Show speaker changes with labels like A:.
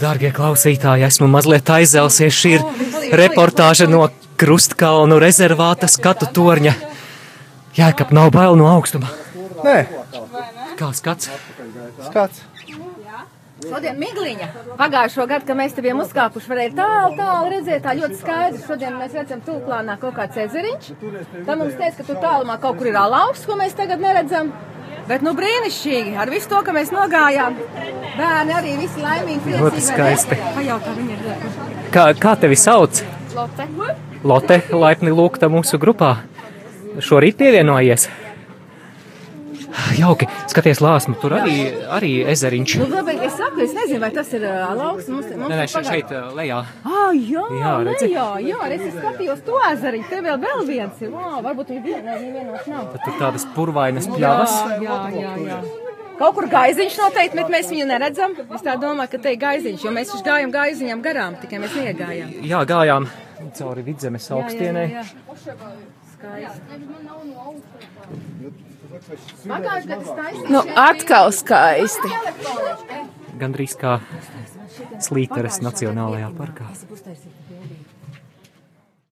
A: Darbie klausītāji, esmu mazliet aizelsies. Šī ir reportāža no Krustkalnu rezervāta skatu torņa. Jā, kāpēc nav bail no augstuma?
B: Nē,
A: Kā skats?
B: skats.
C: Šodien migliņa. Pagājušo gadu, kad mēs te bijām uzkāpuši, varēja tālu, tālu redzēt, tā ļoti skaidri. Šodien mēs redzam tūklānā kaut kāds ezeriņš. Tam mums teica, ka tur tālumā kaut kur ir alauks, ko mēs tagad neredzam. Bet nu brīnišķīgi ar visu to, ka mēs nogājām. Bērni arī visi laimīgi.
A: Ļoti
C: priecīgi,
A: skaisti.
C: vai ne? Pajautā eh, viņiem.
A: Kā, kā tevi sauc?
C: Lotte.
A: Lote, laipni lūgta mūsu grupā. Šorīt pievienojies. Jauki, skaties, lāsmu, tur arī, arī ezeriņš.
C: Nu, labi, es saku, es nezinu, vai tas ir ā, alauks. Mums, mums
A: Nē, nē,
C: ir
A: šeit, šeit ā, lejā.
C: Ah, jā, jā,
A: Jā, redzi?
C: jā, jā, es skatījos to ezeriņu. Te vēl, vēl viens ir. Vā, varbūt viņi viena, vienos nav.
A: Tad tur tādas purvainas pļavas.
C: jā, jā, jā. Kaut kur gaiziņš noteikti, bet mēs viņu neredzam. Es tā domāju, ka te ir gaiziņš, jo mēs taču gājām gaiziņām garām, tikai mēs neiegājām.
A: Jā, gājām cauri vidzemes augstienē.
C: Pagājušajā gadā taisnība.
D: Nu, atkal skaisti.
A: Gandrīz kā slīteres Nacionālajā parkā.